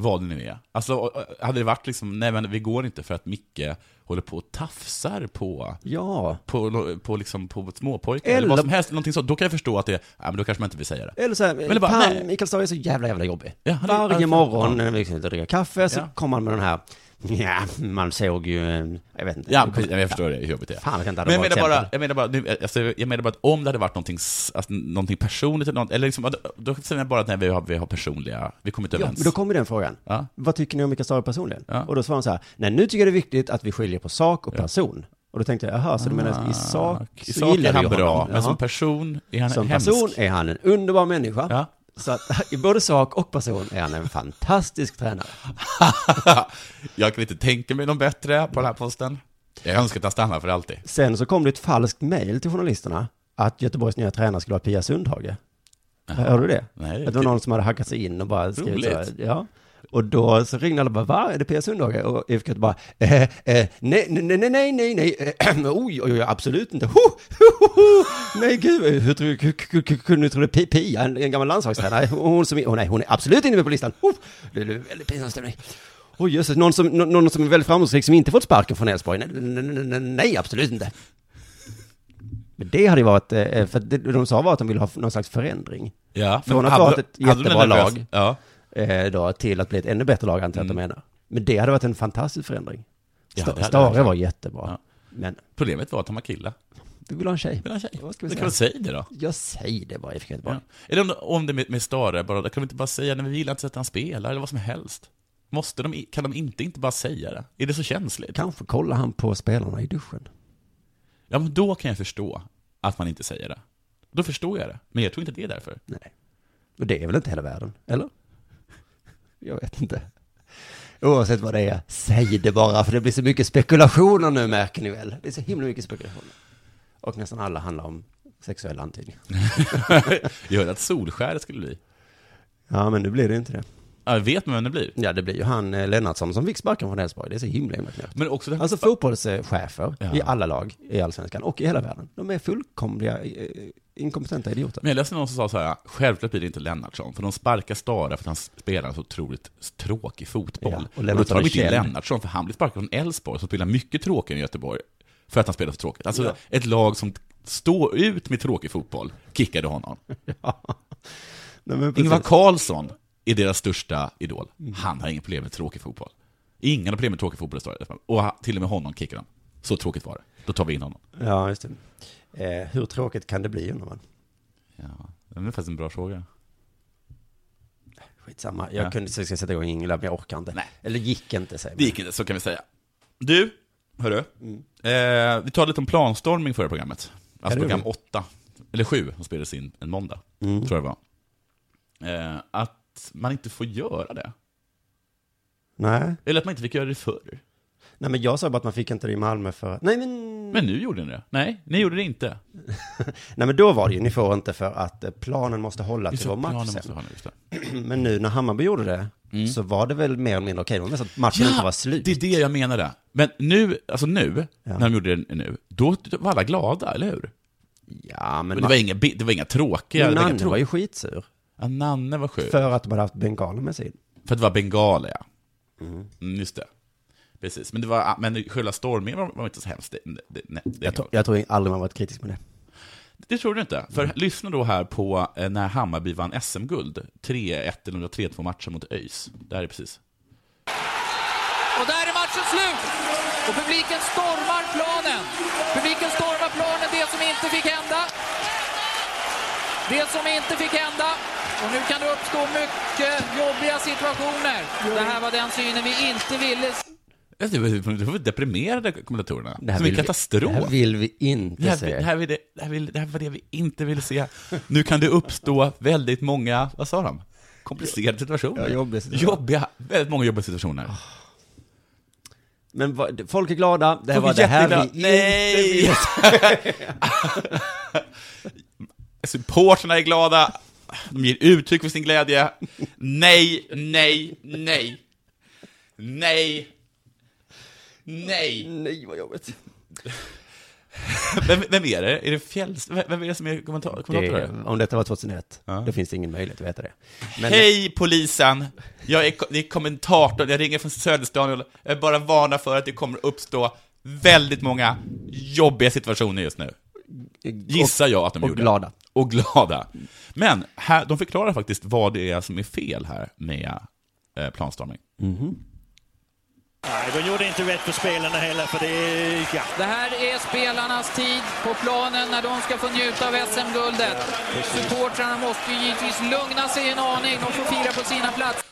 Speaker 3: vad det nu är. Alltså, hade det varit liksom, nej men vi går inte för att Micke håller på och tafsar på
Speaker 4: Ja.
Speaker 3: på, på, liksom, på småpojkar
Speaker 4: Eller-
Speaker 3: eller vad som helst, någonting sånt, då kan jag förstå att det, ja men då kanske man inte vill säga det.
Speaker 4: Eller så här,
Speaker 3: Eller bara,
Speaker 4: fan,
Speaker 3: nej.
Speaker 4: Mikael Stare är så jävla, jävla jobbig.
Speaker 3: Ja, han är-
Speaker 4: Varje
Speaker 3: ja,
Speaker 4: morgon
Speaker 3: ja.
Speaker 4: när vi sitter och dricker kaffe så
Speaker 3: Ja.
Speaker 4: kommer han med den här, ja, man såg ju, en- jag vet inte.
Speaker 3: Ja, precis, jag förstår det, hur jobbigt det är.
Speaker 4: Fan, jag kan inte ha
Speaker 3: men jag
Speaker 4: bra
Speaker 3: menar, bara,
Speaker 4: exempel.
Speaker 3: jag, menar bara, nu, alltså, jag menar bara att om det hade varit någonting, s- alltså, någonting personligt, eller, något, eller liksom, då- då säger jag bara att nej, vi, har, vi har personliga, vi kommer inte
Speaker 4: Ja,
Speaker 3: överens.
Speaker 4: men då kommer den frågan.
Speaker 3: Ja.
Speaker 4: Vad tycker ni om Mikael Stare personligen?
Speaker 3: Ja.
Speaker 4: Och då svarar han så här, nej nu tycker jag det är viktigt att vi skiljer på sak och person. Och då tänkte jag, jaha, så du menar i sak,
Speaker 3: Ah, I
Speaker 4: så
Speaker 3: sak
Speaker 4: gillar
Speaker 3: är han
Speaker 4: vi
Speaker 3: bra,
Speaker 4: honom.
Speaker 3: men som
Speaker 4: Jaha.
Speaker 3: person är han
Speaker 4: Som
Speaker 3: hemsk.
Speaker 4: person är han en underbar människa.
Speaker 3: Ja.
Speaker 4: Så att, i både sak och person är han en fantastisk tränare.
Speaker 3: jag kan inte tänka mig någon bättre på den här posten. Jag önskar att han stannar för alltid.
Speaker 4: Sen så kom det ett falskt mejl till journalisterna att Göteborgs nya tränare skulle vara Pia Sundhage. Hörde du det?
Speaker 3: Nej,
Speaker 4: att det var någon som hade hackat sig in och bara skrivit så här,
Speaker 3: Roligt.
Speaker 4: ja. Och då så ringde alla och bara, va? Är det Pia Sundhage? Och IFK bara, eh, eh, nej, nej, nej, nej, nej, nej, eh, oj, oj, oj, absolut inte, ho, ho, ho, ho. nej gud, eh, hur tror- hur- hur- hur kunde du tro det? Pi- Pia, en en gammal landslagstränare, hon som, är- åh nej, hon är absolut inte med på listan, ho, det är väldigt pinsam stämning. Oj, jösses, någon som, någon, någon som är väldigt framgångsrik som inte fått sparken från Elfsborg, nej, nej, nej, nej, nej, absolut inte. Men det hade ju varit, eh, för det de sa var att de ville ha någon slags förändring.
Speaker 3: Ja,
Speaker 4: Från att
Speaker 3: hade
Speaker 4: ha
Speaker 3: du-
Speaker 4: ett
Speaker 3: hade du
Speaker 4: jättebra
Speaker 3: den nervös-
Speaker 4: lag.
Speaker 3: Ja.
Speaker 4: eh, då, till att bli ett ännu bättre lag antar jag att de menar. Men det hade varit en fantastisk förändring.
Speaker 3: Mm. Ja,
Speaker 4: Sta-
Speaker 3: det hade
Speaker 4: Stare
Speaker 3: verkligen.
Speaker 4: var jättebra.
Speaker 3: Ja.
Speaker 4: Men
Speaker 3: Problemet var att han var kille.
Speaker 4: vi vill ha en tjej.
Speaker 3: Men han tjej.
Speaker 4: Vad ska
Speaker 3: Då
Speaker 4: vi
Speaker 3: kan man
Speaker 4: säga?
Speaker 3: säga det då.
Speaker 4: Jag säger det bara, IFK Göteborg.
Speaker 3: Ja. Eller om, om det med, med Stare, bara, då kan vi inte bara säga när vi vill inte att han spelar eller vad som helst. Måste de, i- kan de inte, inte bara säga det? Är det så känsligt?
Speaker 4: Kanske kollar han på spelarna i duschen.
Speaker 3: Ja, men då kan jag förstå att man inte säger det. Då förstår jag det. Men jag tror inte det är därför.
Speaker 4: Nej. Och det är väl inte hela världen, eller? Jag vet inte. Oavsett vad det är, säg det bara, för det blir så mycket spekulationer nu märker ni väl. Det är så himla mycket spekulationer. Och nästan alla handlar om sexuella antydningar.
Speaker 3: jag hörde att Solskär skulle bli.
Speaker 4: Ja, men nu blir det inte det.
Speaker 3: Ja, jag vet man vem det blir.
Speaker 4: Ja, det blir ju han eh, Lennartsson som fick sparken från Elfsborg. Det är så himla himla knäppt.
Speaker 3: Men också
Speaker 4: Alltså fotbollschefer
Speaker 3: Ja.
Speaker 4: i alla lag i allsvenskan och i hela världen. De är fullkomliga eh, inkompetenta idioter.
Speaker 3: Men jag läste någon som sa så här, självklart blir det inte Lennartsson, för de sparkar Stara för att han spelar en så otroligt tråkig fotboll.
Speaker 4: Ja, och
Speaker 3: och, då
Speaker 4: Lennartsson
Speaker 3: tar de
Speaker 4: är
Speaker 3: inte in
Speaker 4: känd.
Speaker 3: Lennartsson, för han blir sparkad från Elfsborg, som spelar mycket tråkigare än Göteborg, för att han spelar så tråkigt. Alltså,
Speaker 4: Ja.
Speaker 3: ett lag som står ut med tråkig fotboll kickade honom.
Speaker 4: Nej, men
Speaker 3: Ingvar
Speaker 4: precis.
Speaker 3: Carlsson är deras största idol. Han har inga problem med tråkig fotboll. Ingen har problem med tråkig fotboll i Stara. Och han- till och med honom kickar de. Så tråkigt var det. Då tar vi in honom.
Speaker 4: Ja, just det. Eh, hur tråkigt kan det bli undrar man?
Speaker 3: Ja, det är faktiskt en bra fråga.
Speaker 4: Skitsamma, jag
Speaker 3: Ja.
Speaker 4: kunde så ska jag sätta igång Ingela, men jag orkar inte.
Speaker 3: Nej.
Speaker 4: Eller gick inte, säger man.
Speaker 3: Det gick inte, så kan vi säga. Du, hörru. Eh, vi talade lite om planstormning förra programmet. Alltså
Speaker 4: det Mm. gjorde
Speaker 3: program 8, eller 7, som spelades in en måndag. Tror jag det var. Eh, att man inte får göra det.
Speaker 4: Nej.
Speaker 3: Eller att man inte fick göra det förr.
Speaker 4: Nej, men jag sa bara att man fick inte det i Malmö för att... Nej, men...
Speaker 3: Men nu gjorde ni det. Nej, ni gjorde det inte.
Speaker 4: Nej, men då var det ju, ni får inte för att eh, planen måste hålla
Speaker 3: Just
Speaker 4: till vår
Speaker 3: planen
Speaker 4: match
Speaker 3: måste
Speaker 4: sen.
Speaker 3: ha nu, just det.
Speaker 4: Men nu när Hammarby gjorde det, så var det väl mer eller mindre okej. Det var nästan att matchen inte var slut.
Speaker 3: det är det jag menade. Men nu, alltså nu,
Speaker 4: Ja.
Speaker 3: när de gjorde det nu, då var alla glada, eller hur?
Speaker 4: Ja, men...
Speaker 3: Men det, var inga, bi- det var inga tråkiga... det var inga
Speaker 4: Nanne
Speaker 3: trå-
Speaker 4: var ju skitsur.
Speaker 3: Ja, Nanne var sjuk. För,
Speaker 4: För att de hade haft bengaler med sig.
Speaker 3: att det var bengaler, ja. Mm, just det. Precis, men, det var, ah, men själva stormningen var, var inte så hemskt. Det, det, nej, det,
Speaker 4: Jag, tror- jag tror aldrig man varit kritisk med det.
Speaker 3: det tror du inte? För
Speaker 4: Mm.
Speaker 3: lyssna då här på eh, när Hammarby vann SM-guld. 3-1 eller om det var 3-2 matchen mot ÖIS. Det här är precis.
Speaker 9: Och där är matchen slut! Och publiken stormar planen. Publiken stormar planen, det som inte fick hända. Det som inte fick hända. Och nu kan det uppstå mycket jobbiga situationer. Det här var den synen vi inte ville se.
Speaker 3: Jag tycker att Vi var deprimerade, kommentatorerna.
Speaker 4: Det här
Speaker 3: Som en
Speaker 4: vill vi- Det
Speaker 3: katastrof.
Speaker 4: här vill vi inte
Speaker 3: Det här,
Speaker 4: se.
Speaker 3: det, här vill, det, här vill, det här var det vi inte ville se. Nu kan det uppstå väldigt många, vad sa de? Komplicerade situationer.
Speaker 4: Ja, jobbiga situationer. Ah.
Speaker 3: Jobbiga, väldigt många jobbiga situationer.
Speaker 4: Men vad, folk är glada. Det här
Speaker 3: Folk är
Speaker 4: var det här
Speaker 3: jätteglada.
Speaker 4: vi
Speaker 3: Nej!
Speaker 4: inte vill
Speaker 3: Supporterna är glada, de ger uttryck för sin glädje. Nej, nej, nej. Nej. Nej.
Speaker 4: Nej, vad jobbigt.
Speaker 3: Vem, vem är det? Är det Fjälls? Vem vem är det som är kommentator?
Speaker 4: Det,
Speaker 3: kommentator?
Speaker 4: om detta var 2001, då finns det ingen möjlighet att veta det. Men
Speaker 3: Hej polisen! Jag är, det är kommentatorn, jag ringer från Söderstadion. Jag vill bara varna för att det kommer uppstå väldigt många jobbiga situationer just nu. Gissar jag att de
Speaker 4: och
Speaker 3: gjorde.
Speaker 4: glada.
Speaker 3: Och glada. Men här, de förklarar faktiskt vad det är som är fel här med eh, planstormning.
Speaker 10: Nej, de gjorde inte rätt för spelarna heller, för det är... Ja,
Speaker 9: Det här är spelarnas tid på planen när de ska få njuta av SM-guldet. Supportrarna måste ju givetvis lugna sig en aning. De får fira på sina platser.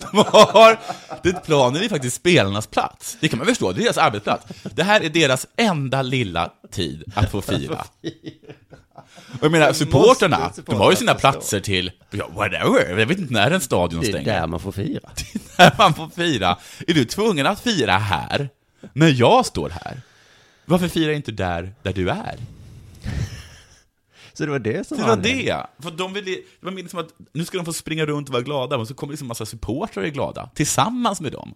Speaker 3: De har, det planen är faktiskt spelarnas plats. Det kan man förstå, det är deras arbetsplats. Det här är deras enda lilla tid att få fira. Och jag menar, supporterna,
Speaker 4: måste
Speaker 3: de har ju sina
Speaker 4: supportrarna
Speaker 3: platser till, ja, whatever, jag vet inte när en stadion
Speaker 4: det är
Speaker 3: stänger.
Speaker 4: där man får fira.
Speaker 3: När man får fira. Är du tvungen att fira här, när jag står här? Varför firar inte du där, där du är?
Speaker 4: Så det var det som
Speaker 3: Det var
Speaker 4: anledningen.
Speaker 3: det! För de ville, det var mer som att nu ska de få springa runt och vara glada, men så kommer liksom en massa supportrar och är glada, tillsammans med dem.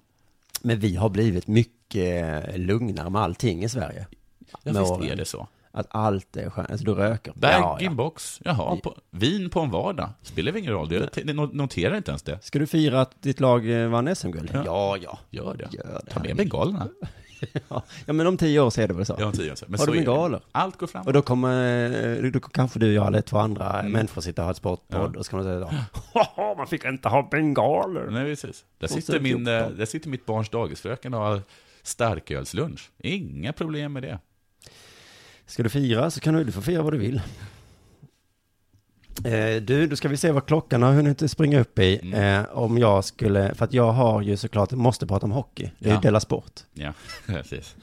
Speaker 4: Men vi har blivit mycket eh, lugnare med allting i Sverige.
Speaker 3: Ja,
Speaker 4: Med
Speaker 3: visst
Speaker 4: åren.
Speaker 3: är det så.
Speaker 4: Att allt är skönt. Alltså du röker.
Speaker 3: Bag
Speaker 4: Ja, ja.
Speaker 3: in box, jaha, på, vin på en vardag. Spelar väl ingen roll, det, det no- noterar inte ens det.
Speaker 4: Ska du fira att ditt lag eh, vann SM-guld? Ja. ja, ja.
Speaker 3: Gör det.
Speaker 4: Gör det.
Speaker 3: Ta med bengalerna.
Speaker 4: Ja, men om tio år så är det väl så.
Speaker 3: Ja, tio, alltså. Men
Speaker 4: Har
Speaker 3: så
Speaker 4: du
Speaker 3: är det.
Speaker 4: bengaler?
Speaker 3: Allt går fram.
Speaker 4: Och då kommer, eh, då kanske du och jag eller två andra människor sitter och har ett sportpodd och så kan man säga då, Haha, man fick inte ha bengaler.
Speaker 3: Nej, precis. Där
Speaker 4: Och
Speaker 3: sitter,
Speaker 4: sen
Speaker 3: min, eh,
Speaker 4: 14.
Speaker 3: där sitter mitt barns dagisfröken och har starkölslunch. Inga problem med det.
Speaker 4: Ska du fira så kan du, du får fira vad du vill. Eh, du, då ska vi se vad klockan har hunnit springa upp i. Eh, om jag skulle, för att jag har ju såklart, måste prata om hockey. Det är
Speaker 3: Ja.
Speaker 4: ju Della Sport.
Speaker 3: Ja, precis.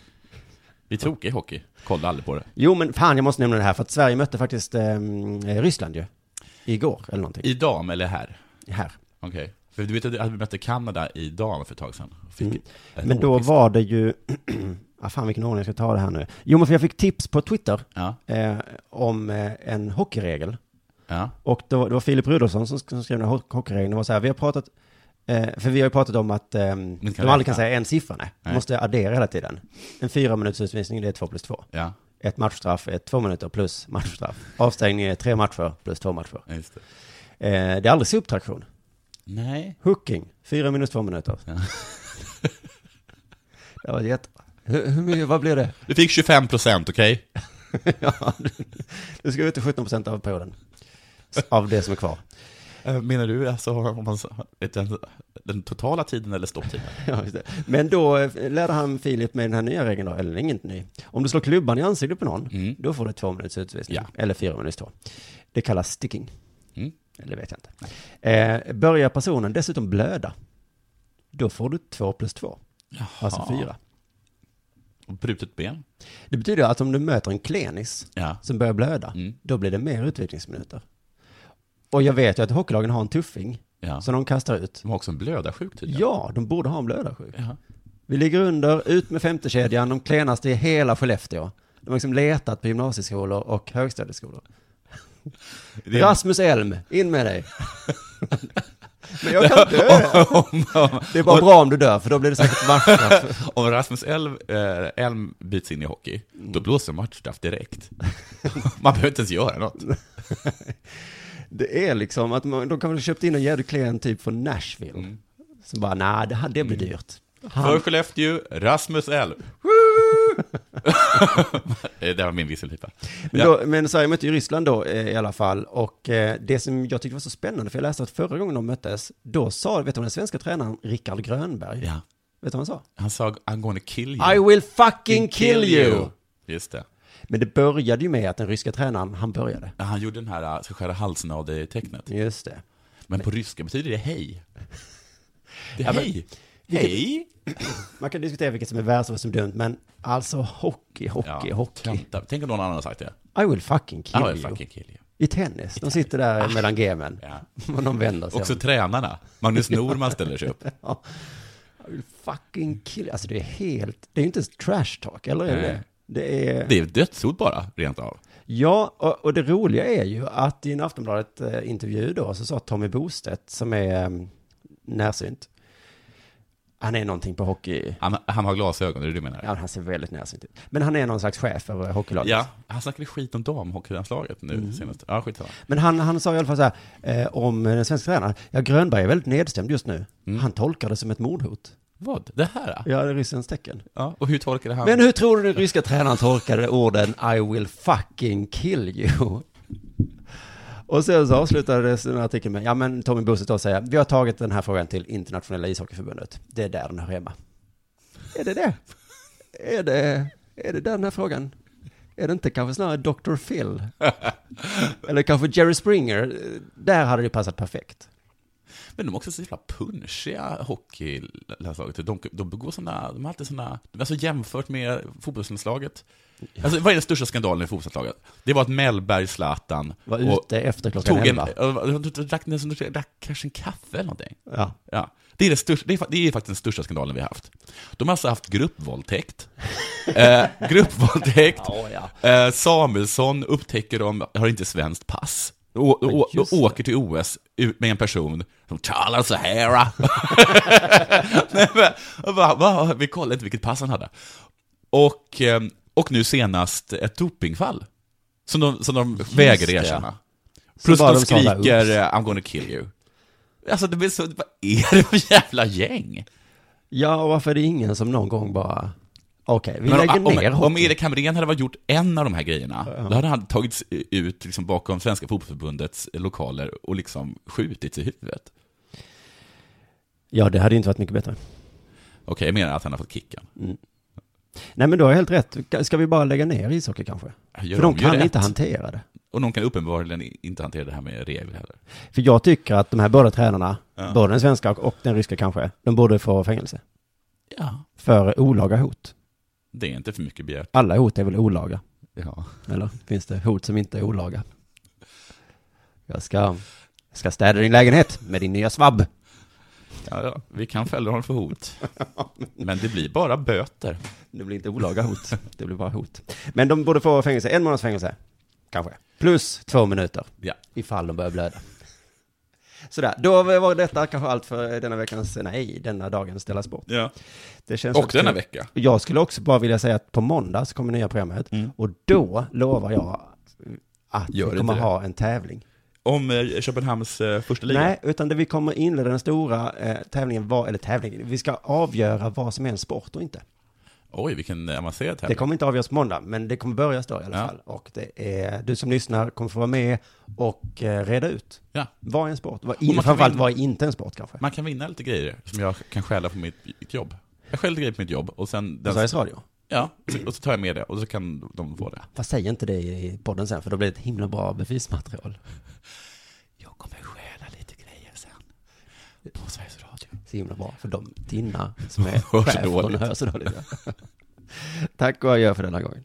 Speaker 3: Vi är tokiga i hockey. Kolla aldrig på det.
Speaker 4: Jo men fan, jag måste nämna det här, för att Sverige mötte faktiskt eh, Ryssland ju. Igår eller någonting.
Speaker 3: I dam eller här?
Speaker 4: här.
Speaker 3: Okej. För du vet att vi mötte Kanada i dam för ett tag sedan. Fick ett
Speaker 4: Mm. Men då
Speaker 3: hårpiss.
Speaker 4: var det ju, ah, fan vilken ordning jag ska ta det här nu. Jo men för jag fick tips på Twitter
Speaker 3: Ja,
Speaker 4: eh, om eh, en hockeyregel.
Speaker 3: ja.
Speaker 4: Och det var, det var Filip Rudolfsson som, sk- som skrev den här ho- hockeyregeln. Det var så här, vi har pratat, eh, för vi har ju pratat om att eh, de
Speaker 3: kan
Speaker 4: aldrig
Speaker 3: räkna.
Speaker 4: kan säga en siffra, nej.
Speaker 3: Nej.
Speaker 4: nej. måste addera hela tiden. En fyra minuters utvisning, det är två plus två.
Speaker 3: ja.
Speaker 4: Ett matchstraff är två minuter plus matchstraff. Avstängning är tre matcher plus två matcher.
Speaker 3: ja, Just det.
Speaker 4: Eh, det är aldrig subtraktion.
Speaker 3: Nej.
Speaker 4: Hooking, fyra minus två minuter. det var jätte... Hur, hur mycket, vad blir det?
Speaker 3: Du fick 25 procent, okej?
Speaker 4: ja, du, du ska ut till 17% av perioden. Av det som är kvar.
Speaker 3: Eh, Menar du alltså om man, sa- vet du, den totala tiden eller stopptiden?
Speaker 4: Ja, just det. Men då eh, lärde han Filip med den här nya regeln då, eller inget ny. Om du slår klubban i ansiktet på någon, då får du två minuters utvisning.
Speaker 3: Ja.
Speaker 4: Eller fyra minus två. Det kallas sticking.
Speaker 3: Mm.
Speaker 4: Eller vet jag inte. Eh, börjar personen dessutom blöda, då får du två plus två. Alltså fyra.
Speaker 3: Och brutet ben?
Speaker 4: Det betyder att om du möter en klenis
Speaker 3: Ja.
Speaker 4: som börjar blöda,
Speaker 3: Mm.
Speaker 4: då blir det mer utvecklingsminuter. Och jag vet ju att hockeylagen har en tuffing
Speaker 3: Ja.
Speaker 4: som de kastar ut.
Speaker 3: De har också en blödarsjuk tydligen.
Speaker 4: Ja, de borde ha en blödarsjuk.
Speaker 3: Ja.
Speaker 4: Vi ligger under, ut med femtekedjan, de klenaste i hela Skellefteå. De har liksom letat på gymnasieskolor och högstadieskolor.
Speaker 3: Det är-
Speaker 4: Rasmus Elm, in med dig. Men jag kan dö.
Speaker 3: om, om,
Speaker 4: Det är bara bra om du dör, för då blir det säkert matchstraff.
Speaker 3: om Rasmus Elm, eh, Elm byts in i hockey,
Speaker 4: Mm.
Speaker 3: då blåser matchstraff direkt. Man behöver inte ens göra något.
Speaker 4: Det är liksom att man, de kan väl ha köpt in en jävligt klen typ från Nashville.
Speaker 3: Mm.
Speaker 4: Så bara, nej, det, här- det blir dyrt.
Speaker 3: För
Speaker 4: Han,
Speaker 3: Skellefteå, Rasmus L. Eh, det var min visselpipa.
Speaker 4: men,
Speaker 3: Ja.
Speaker 4: då, men Sverige mötte ju Ryssland då eh, i alla fall. Och eh, det som jag tyckte var så spännande, för jag läste att förra gången de möttes, då sa, vet du vad den svenska tränaren Rickard Grönberg,
Speaker 3: Ja.
Speaker 4: vet du vad han sa?
Speaker 3: Han sa I'm gonna kill you.
Speaker 4: I will fucking kill you!
Speaker 3: Just det.
Speaker 4: Men det började ju med att den ryska tränaren, han började.
Speaker 3: Ja, Han gjorde den här, äh, ska skära halsen av dig-tecknet.
Speaker 4: Just det.
Speaker 3: Men på ryska betyder det hej. Det är
Speaker 4: men-
Speaker 3: hej. Hej!
Speaker 4: Man kan diskutera vilket som är värst och vad som är dumt, men alltså hockey, hockey, hockey.
Speaker 3: tenta. Tänk om någon annan har sagt det.
Speaker 4: I will fucking kill
Speaker 3: I will
Speaker 4: you.
Speaker 3: fucking kill you.
Speaker 4: I tennis, de sitter där mellan gamen.
Speaker 3: Ja.
Speaker 4: Och de vänder sig.
Speaker 3: Också tränarna. Magnus Norman ställer sig upp.
Speaker 4: I will fucking kill you. Alltså det är helt, det är ju inte ens trash talk, eller är det
Speaker 3: Nej.
Speaker 4: det? det? Är,
Speaker 3: Det är dödshot bara, rent av.
Speaker 4: Ja, och, och det roliga är ju att i en Aftonbladet-intervju då så sa Tommy Bostedt, som är eh, närsynt, han är någonting på hockey.
Speaker 3: Han, han har glasögon, det är det du menar?
Speaker 4: Ja, han ser väldigt närsynt ut. Men han är någon slags chef över hockeylaget.
Speaker 3: Ja, han snackade skit om damhockeylandslaget nu
Speaker 4: Mm.
Speaker 3: senast. Ja, skitsamma.
Speaker 4: Men han, han sa i alla fall så här, eh, om den svenska tränaren, ja Grönberg är väldigt nedstämd just nu.
Speaker 3: Mm.
Speaker 4: Han tolkar det som ett mordhot.
Speaker 3: Vad? Det här? Ja.
Speaker 4: Ja, det är ryssens tecken.
Speaker 3: och hur tolkade han?
Speaker 4: Men hur tror du den ryska tränaren tolkade orden I will fucking kill you? Och sen så avslutades den här artikeln med, ja men Tommy Busset då säger, vi har tagit den här frågan till internationella ishockeyförbundet. Det är där den hör hemma. Är det det? Är det, är det där den här frågan? Är det inte kanske snarare Dr. Phil? Eller kanske Jerry Springer? Där hade det passat perfekt.
Speaker 3: Men de är också så jävla punschiga, hockeylandslaget. De, de begår sådana, de har alltid sådana, alltså jämfört med fotbollslandslaget. Alltså vad är den största skandalen i fotbollslandslaget? Det var att Mellberg, Zlatan,
Speaker 4: Var
Speaker 3: och
Speaker 4: ute efter klockan
Speaker 3: tog en,
Speaker 4: 11.
Speaker 3: och- och- och drack, nästan- drack kanske en kaffe eller någonting.
Speaker 4: Ja.
Speaker 3: Ja. Det, är det, största, det, är, fa- det är faktiskt den största skandalen vi har haft. De har alltså haft gruppvåldtäkt. eh, gruppvåldtäkt.
Speaker 4: Ja,
Speaker 3: Eh, Samuelsson upptäcker de har inte svenskt pass. Då, då,
Speaker 4: Ja,
Speaker 3: då
Speaker 4: just det.
Speaker 3: åker till OS ut med en person som talar så här. Nej, men, och bara, va, vi kollade inte vilket pass han hade. Och, eh, och nu senast ett dopingfall. Som de, som de vägrar
Speaker 4: det, ja.
Speaker 3: erkänna. Plus
Speaker 4: bara
Speaker 3: de
Speaker 4: de sa där,
Speaker 3: skriker
Speaker 4: "Oops."
Speaker 3: eh, I'm gonna kill you. Alltså det blir så, vad är det för jävla gäng?
Speaker 4: Ja, och varför är det ingen som någon gång bara, okej, vi
Speaker 3: Men
Speaker 4: lägger
Speaker 3: om, om,
Speaker 4: ner
Speaker 3: om,
Speaker 4: hockeyn."
Speaker 3: Erik Hamrén hade varit gjort en av de här grejerna, då hade han tagits ut liksom bakom Svenska Fotbollförbundets lokaler och liksom skjutits i huvudet.
Speaker 4: Ja, det hade ju inte varit mycket bättre.
Speaker 3: Okej, jag menar att han har fått kicken.
Speaker 4: Nej, men du har helt rätt. Ska vi bara lägga ner ishockey kanske?
Speaker 3: Gör
Speaker 4: För de
Speaker 3: de, gör
Speaker 4: kan
Speaker 3: rätt.
Speaker 4: inte hantera det.
Speaker 3: Och någon kan uppenbarligen inte hantera det här med regler heller.
Speaker 4: För jag tycker att de här båda tränarna, både den svenska och, och den ryska kanske, de borde få fängelse.
Speaker 3: Ja,
Speaker 4: För olaga hot.
Speaker 3: det är inte för mycket begärt.
Speaker 4: Alla hot är väl olaga?
Speaker 3: Ja.
Speaker 4: Eller finns det hot som inte är olaga? Jag ska, jag ska städa din lägenhet med din nya svabb.
Speaker 3: Ja, ja. Vi kan fälla honom för hot. Men det blir bara böter.
Speaker 4: Det blir inte olaga hot, det blir bara hot. Men de borde få fängelse, en månads fängelse, kanske. Plus två minuter.
Speaker 3: Ja.
Speaker 4: Ifall de börjar blöda. Sådär, då var detta kanske allt för denna veckans, nej, denna dagens Della Sport.
Speaker 3: ja.
Speaker 4: Det känns
Speaker 3: Och
Speaker 4: faktiskt-
Speaker 3: denna vecka.
Speaker 4: Jag skulle också bara vilja säga att på måndag så kommer nya programmet och då lovar jag att
Speaker 3: Mm. Gör
Speaker 4: vi
Speaker 3: inte
Speaker 4: kommer
Speaker 3: det.
Speaker 4: ha en tävling.
Speaker 3: Om eh, Köpenhamns eh, första liga.
Speaker 4: Nej, utan det vi kommer inleda den stora eh, tävlingen, var, eller tävlingen, vi ska avgöra vad som är en sport och inte.
Speaker 3: Oj, vilken eh, avancerad
Speaker 4: Det
Speaker 3: tävling.
Speaker 4: kommer inte avgöras på måndag, men det kommer börjas då i alla
Speaker 3: Ja.
Speaker 4: fall. Och det är, du som lyssnar kommer få vara med och eh, reda ut.
Speaker 3: Ja.
Speaker 4: Vad är en sport? Vad
Speaker 3: man
Speaker 4: in,
Speaker 3: kan
Speaker 4: framförallt,
Speaker 3: vinna.
Speaker 4: vad är inte en sport kanske?
Speaker 3: Man kan vinna lite grejer som jag kan stjäla från mitt mitt jobb. Jag stjäl lite grejer på mitt jobb och sen... Den,
Speaker 4: Sveriges Radio.
Speaker 3: ja, så- och så tar jag med det och så kan de få det.
Speaker 4: Fast säg inte det i podden sen, för då blir det ett himla bra bevismaterial.
Speaker 3: Jag kommer stjäla lite grejer sen. På Sveriges Radio.
Speaker 4: Så himla bra, för de, dina som är
Speaker 3: Hör så
Speaker 4: chef, de
Speaker 3: dåligt.
Speaker 4: hör så dåligt. ja. Tack och adjö för denna gången.